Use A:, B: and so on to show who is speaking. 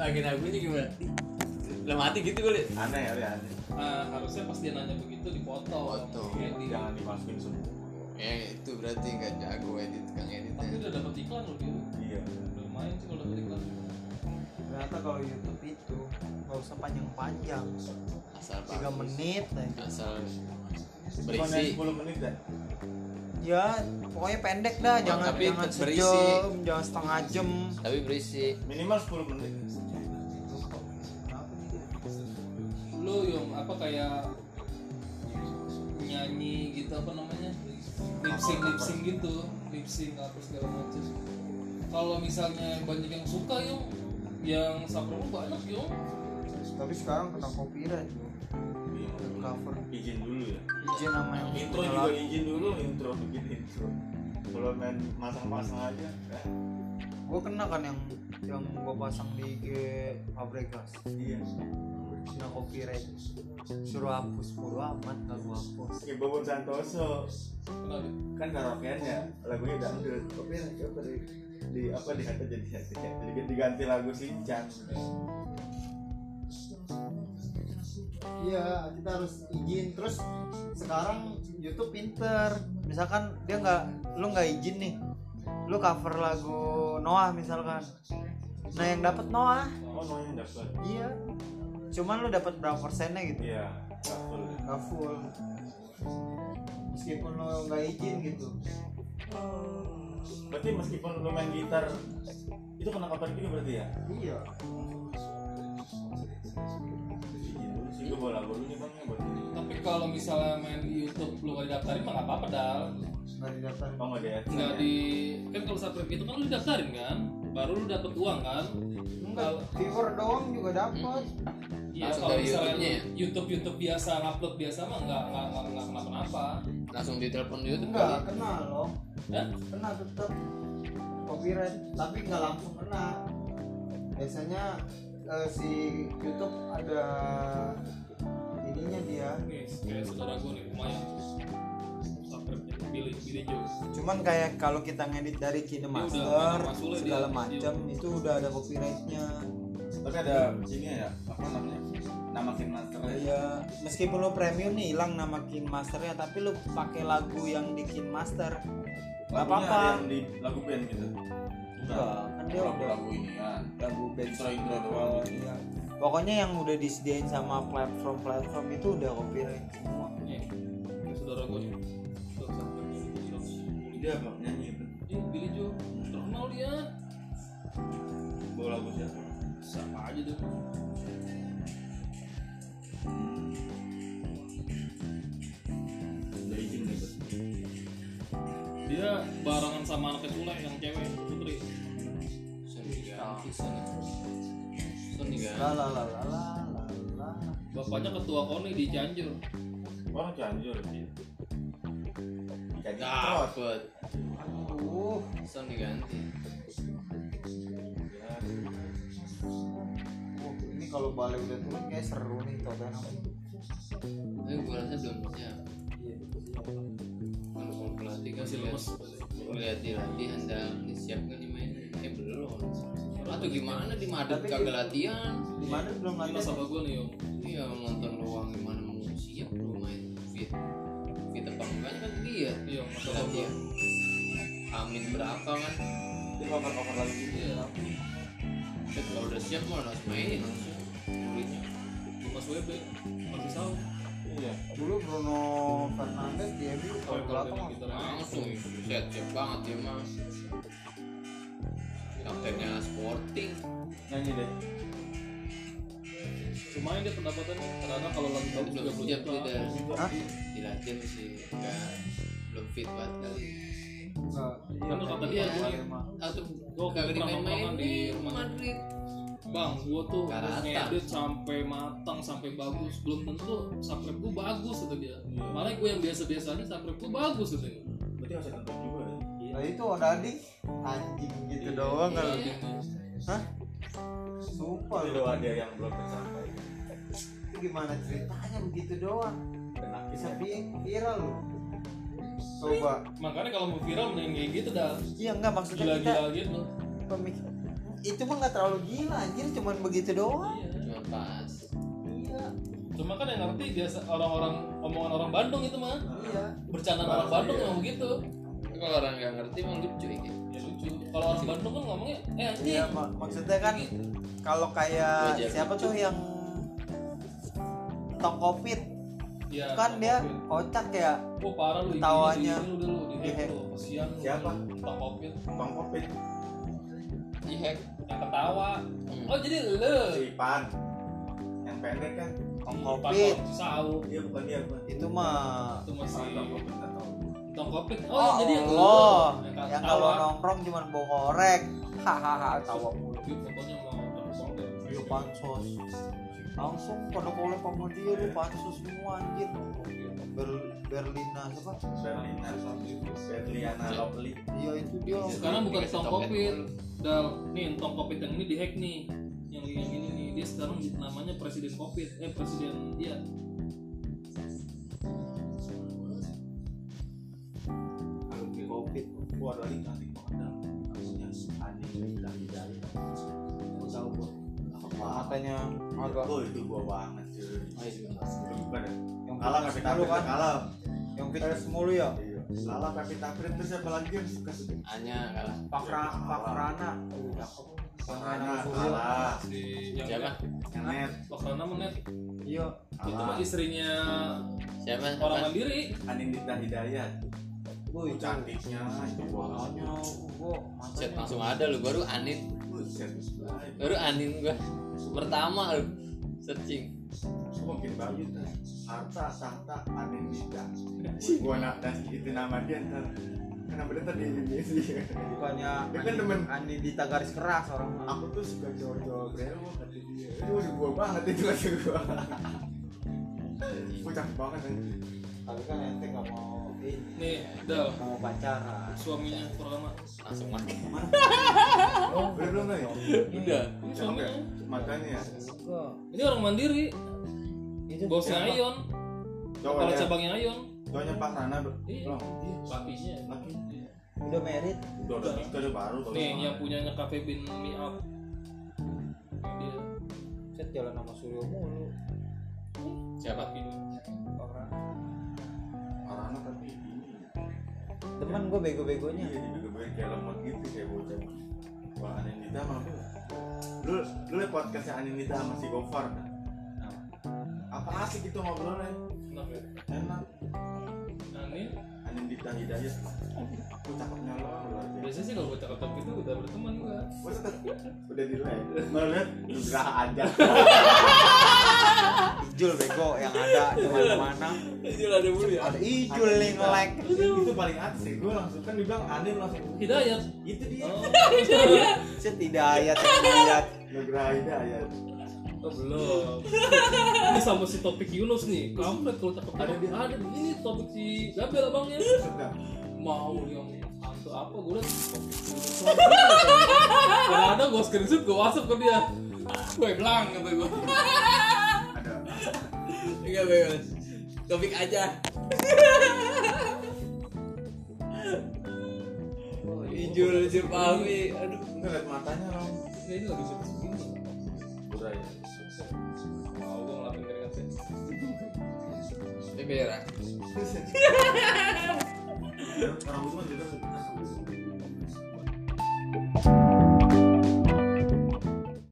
A: agen agunya gimana lah mati gitu gue liat
B: aneh ya aneh
C: Nah, harusnya pas dia nanya begitu dipotong.
D: Potong.
C: Kayak di-
B: jangan dimasukin semua
D: ya itu berarti nggak jago edit kang
C: Tapi
D: editnya
C: udah dapet iklan loh dia.
B: iya
C: Udah main sih kalau dapet iklan.
E: ternyata kalau YouTube itu nggak usah panjang-panjang
D: asal
E: tiga
D: bagus.
E: menit aja.
D: asal
B: cuma
D: berisi
B: 10 menit dah
E: ya pokoknya pendek dah
D: Bang,
E: jangan
D: tapi
E: jangan
D: berisi.
E: sejam jangan setengah jam
D: tapi berisi
B: minimal 10 menit Iya,
C: Lu yang apa kayak nyanyi gitu apa namanya? Lipsing lipsing gitu, lipsing apa segala macam. Kalau misalnya banyak yang suka yung yang subscribe banyak yung
E: tapi sekarang kena copyright tuh
B: Iya,
E: cover
B: izin dulu ya
E: izin sama yang
B: intro
E: punya
B: juga
E: lagu.
B: izin dulu intro bikin intro kalau main masang-masang aja eh,
E: gue kena kan yang yang gue pasang di IG Fabregas
B: iya
E: kena copyright suruh hapus bodo amat gak gue hapus
B: kayak Bobon Santoso
C: kenapa?
B: kan karaokeannya lagunya dangdut tapi yang coba di, di apa di hati jadi hati jadi diganti lagu sincang
E: iya kita harus izin terus sekarang YouTube pinter misalkan dia nggak lu nggak izin nih lu cover lagu Noah misalkan nah yang dapat Noah
B: oh mau yang dapat
E: iya cuman lu dapat berapa persennya gitu
B: iya dapet.
E: nggak full meskipun lu nggak izin gitu
B: berarti meskipun lu main gitar itu kena kabar juga berarti ya
E: iya
B: izin dulu sih gue bawa lagu dulu nih bang ya buat ini
C: Tapi kalau misalnya main di YouTube lu gak didaftarin mah nggak apa-apa dal.
E: nggak didaftarin
B: oh nggak deh
C: Nggak di kan kalau subscribe gitu kan lu didaftarin kan, baru lu dapet uang kan.
E: enggak viewer doang juga dapat
C: Iya,
D: Langsung
C: kalau
D: dari
C: misalnya
D: YouTube-nya ya?
C: YouTube YouTube biasa ngupload biasa mah nggak nggak nggak nggak kenapa-napa.
D: langsung ditelepon YouTube
E: enggak
D: kali
E: kena loh
C: Hah?
E: kena tetap copyright tapi nggak langsung kena biasanya eh, si YouTube ada ininya dia
C: Nih, kayak saudara gue nih lumayan. Subscribe nya pilih pilih juga.
E: cuman kayak kalau kita ngedit dari
C: Kinemaster, Dia udah masuk lah segala dia. macam,
E: itu udah ada copyrightnya
B: tapi ada ini ya apa namanya nama signature
E: ya meskipun lo premium nih hilang nama Kinmasternya tapi lo pakai lagu yang di Kinmaster nggak
B: Lagunya
E: apa-apa
B: ada yang di lagu band gitu
E: Enggak, kan dia
B: lagu
E: udah
B: lagu ini ya
E: lagu band
B: intro intro doang gitu
E: Iya. Pokoknya yang udah disediain sama platform-platform itu udah copyright semua.
C: Nih, kayak saudara gue nih. Sudah subscribe nya Billy Joe.
B: dia bang nyanyi itu
C: Ih, Billy Joe terkenal dia.
B: bawa lagu siapa
C: Siapa aja tuh?
B: udah izin nih Bet.
C: Dia barengan sama anaknya Sule yang cewek Putri.
D: Sony ganti Sony Sony ganti
E: La la la la la la la.
C: kan? Bapaknya ketua koni di Cianjur.
B: orang Oh, Cianjur sih Cianjur
D: dapet
E: Uh,
D: Sony ganti
B: Ya,
E: uh, ini kalau balik udah turun kayak seru nih Tottenham.
D: tapi gue rasa belum siap kalau kalau pelatih kan
C: Masih lemes.
D: lihat di latihan dan siap nggak nih main eh belum atau gimana di Madrid
E: Tapi-
D: kagak latihan
E: Di mana belum
C: Ini
E: latihan?
C: nasabah gue nih, Om.
D: iya nonton doang gimana mau siap belum main fit fit apa enggaknya kan dia
C: Iya, nasabah gue.
D: latihan amin berapa kan
B: dia cover cover lagu gitu
C: Iya,
D: Eh, kalau udah siap mah harus main langsung muridnya
C: Mas WB, Mas Isau.
B: iya
E: Dulu Bruno Fernandes di MU kalau gitu
C: Kalau dia
E: belakang
C: main gitar.
D: langsung set siap banget dia mah kaptennya sporting
B: nyanyi deh
C: Cuma ini pendapatannya kadang-kadang kalau lagi bagus juga
E: Iya,
D: belum
C: belum
D: siap dia
C: juta.
E: Hah?
D: di latihan sih nggak belum fit banget kali
E: Enggak.
C: Kan lu kata dia,
D: Iya.
E: Iya, Mak.
D: atau
C: Gua
D: kagak
C: pernah
D: dimain-main
C: nongkrongan di
D: di
C: rumah.
D: Madrid
C: Bang, gua tuh
D: Gak
C: harus
D: rata.
C: ngedit sampai matang, sampai bagus. Belum tentu subscribe gua bagus itu dia. Malah gua yang biasa-biasanya subscribe gua bagus itu.
B: Iya. berarti harus tentu juga ya
E: Nah, itu Odadi anjing gitu doang kalau
C: Iya.
E: dia. Hah? Sumpah
B: Pasti
E: lu.
B: doa dia yang belum tercapai
E: Itu gimana ceritanya begitu doang?
B: dan
E: Bisa
B: akhirnya
E: vi- viral lu. Coba.
C: Makanya kalau mau viral mending kayak gitu dah.
E: Iya enggak maksudnya kita
C: Gila-gila gitu.
E: pemik- itu mah nggak terlalu gila anjir cuman begitu doang
C: Iya.
D: cuma pas
E: iya
C: Cuma kan yang ngerti biasa orang-orang omongan orang Bandung itu mah
E: iya
C: bercandaan orang
B: Iya.
C: Bandung gitu. emang begitu.
D: Tapi kalau orang nggak ngerti emang lucu ya gitu.
C: Ya lucu. Kalau orang Bandung kan ngomongnya eh anjing.
E: iya mak- maksudnya kan kalau kayak
D: Wajar.
E: siapa tuh yang tokopit
C: Iya.
E: kan dia kocak ya
C: Wah parah lu. ini,
E: Tawanya.
C: Lu dulu lu di
E: Dihack.
C: hack lu. Kesian lu.
B: Siapa?
C: Pak Kopit
B: bang kopit
D: Di hack.
C: yang ketawa.
D: Hmm.
C: Oh jadi lu.
B: si Ipan yang pendek kan
E: Iya, Tokopit.
C: Sau.
B: dia bukan dia bukan
E: itu mah
C: Itu masih
B: Ipan, Bang Kopit, nggak tahu.
C: Tong Kopit. Oh,
E: oh,
C: jadi yang lu.
E: Allah. yang
C: Yang
E: kalau
C: ketawa.
E: nongkrong cuman bawa korek hahaha tawa mulu
C: Tapi fotonya sama orang Solo.
E: Iya pansos langsung pada kolek sama dia lu pansos semua anjir Ber Berlina siapa
B: Berlina Berliana Lovely
E: iya itu dia
C: Sekarang bukan
D: Dikasih
C: Tong
D: topet
C: Kopit.
D: dulu.
C: Dal, nih entong covid yang ini dihack nih yang yang ini nih dia sekarang namanya presiden covid eh presiden iya
B: alumni covid gua ada lagi cantik banget dah. maksudnya anjing bilang jari gua tahu gua apa
E: matanya agak
B: oh itu gua banget cuy
D: Oh, iya.
B: bukan ya?
E: yang
B: kalah
E: fitness
B: tapi
E: mulu
B: kalah
E: kan
B: kalah
E: yang fitness mulu ya
B: Iya. Lala Pepita Taprit terus siapa lagi yang suka sedih?
D: Hanya kalah.
E: Pak Ra- Pak Rana
B: Sarana,
E: Suhu.
B: Lala,
C: si yang
D: Siapa?
B: Kenet,
C: Lokrana menet
E: iya
C: itu
B: Lala,
C: mah istrinya
D: Siapa?
C: orang
D: Apa?
C: mandiri
B: Anindita Kan Hidayat.
C: Oh,
E: Woi,
B: cantiknya itu
E: Makanya
B: bolanya.
E: gua
D: Set
E: matanya
D: langsung ada lu baru Anit.
B: Buset, baik.
D: Baru Anin gua. Pertama lu searching.
B: Gua makin bagus dah. Harta, tahta, Anindita. Gua nak dan itu nama dia ntar. Kan Nama dia ntar di Indonesia.
E: bukannya
B: Dia kan
E: Andi-
B: temen.
E: Andi Dita garis keras orang mah.
B: Aku tuh suka cowok-cowok brewok kata dia. Itu udah gua banget itu kata gua. Pucat banget anjing.
E: tapi kan ente nggak mau ini
C: nih Dal
E: nggak mau pacaran
C: suaminya pertama
D: Langsung makan.
B: Udah Oh, belum Nay?
D: Udah.
C: ini
B: Cakep ya?
C: suaminya
B: Matanya.
E: Enggak.
C: ini orang mandiri
E: itu
C: bosnya
B: Siapa?
C: Ayon kepala
B: Cowoknya,
C: cabangnya Ayon
B: cowoknya Pak Rana belum?
C: Iya. lakinya
B: Oh. Laki. Oh.
E: udah merit
B: Udah udah nikah udah baru baru.
C: nih yang punyanya kafe bin Mi Up dia
E: set jalan sama Suryo mulu
D: Siapa?
C: lakinya.
E: orang
B: Marana tapi ini.
E: temen gue
B: Iya
E: bego-begonya
B: juga gue kayak lemot gitu kayak bocah. Wah Anindita mah lu. Lu lu liat podcastnya Anindita sama si Gofar kan? Apa asik itu ngobrolnya?
C: kenapa ya?
B: Enak.
C: nah ini
B: Anindita Hidayat. Gue cakepnya lo.
C: biasanya sih kalau gue cakep itu udah berteman gua
B: Gue tetep udah di lain. Lo liat lu gerah aja.
E: Ijul bego yang ada di mana-mana
A: Anjir ada mulu
D: Iya.
A: ya.
E: ada Ijul yang nge-like
B: Itu paling asik. Gue langsung kan dibilang Anin langsung.
C: Hidayat
B: Itu dia.
C: oh,
E: set tidak ayat tidak
B: Lu gerah Hidayat.
C: oh belum ini sama si topik Yunus nih kampret kalau cakep ada dia ada ini topik si Gabriel abangnya
B: Sedap.
C: mau yang hantu apa gue liat topik Yunus kalau ada gue screenshot gue whatsapp ke dia gue bilang kata gue
B: Ada
A: Enggak bebas. Topik aja.
D: Oh, iya.
A: Ijul Jepami. Aduh.
B: Enggak liat matanya lo.
C: ini lagi sibuk segini
B: Gerah ya.
C: wow gue ngelapin keringatnya
D: Ini berak.
B: kan Orang itu mah juga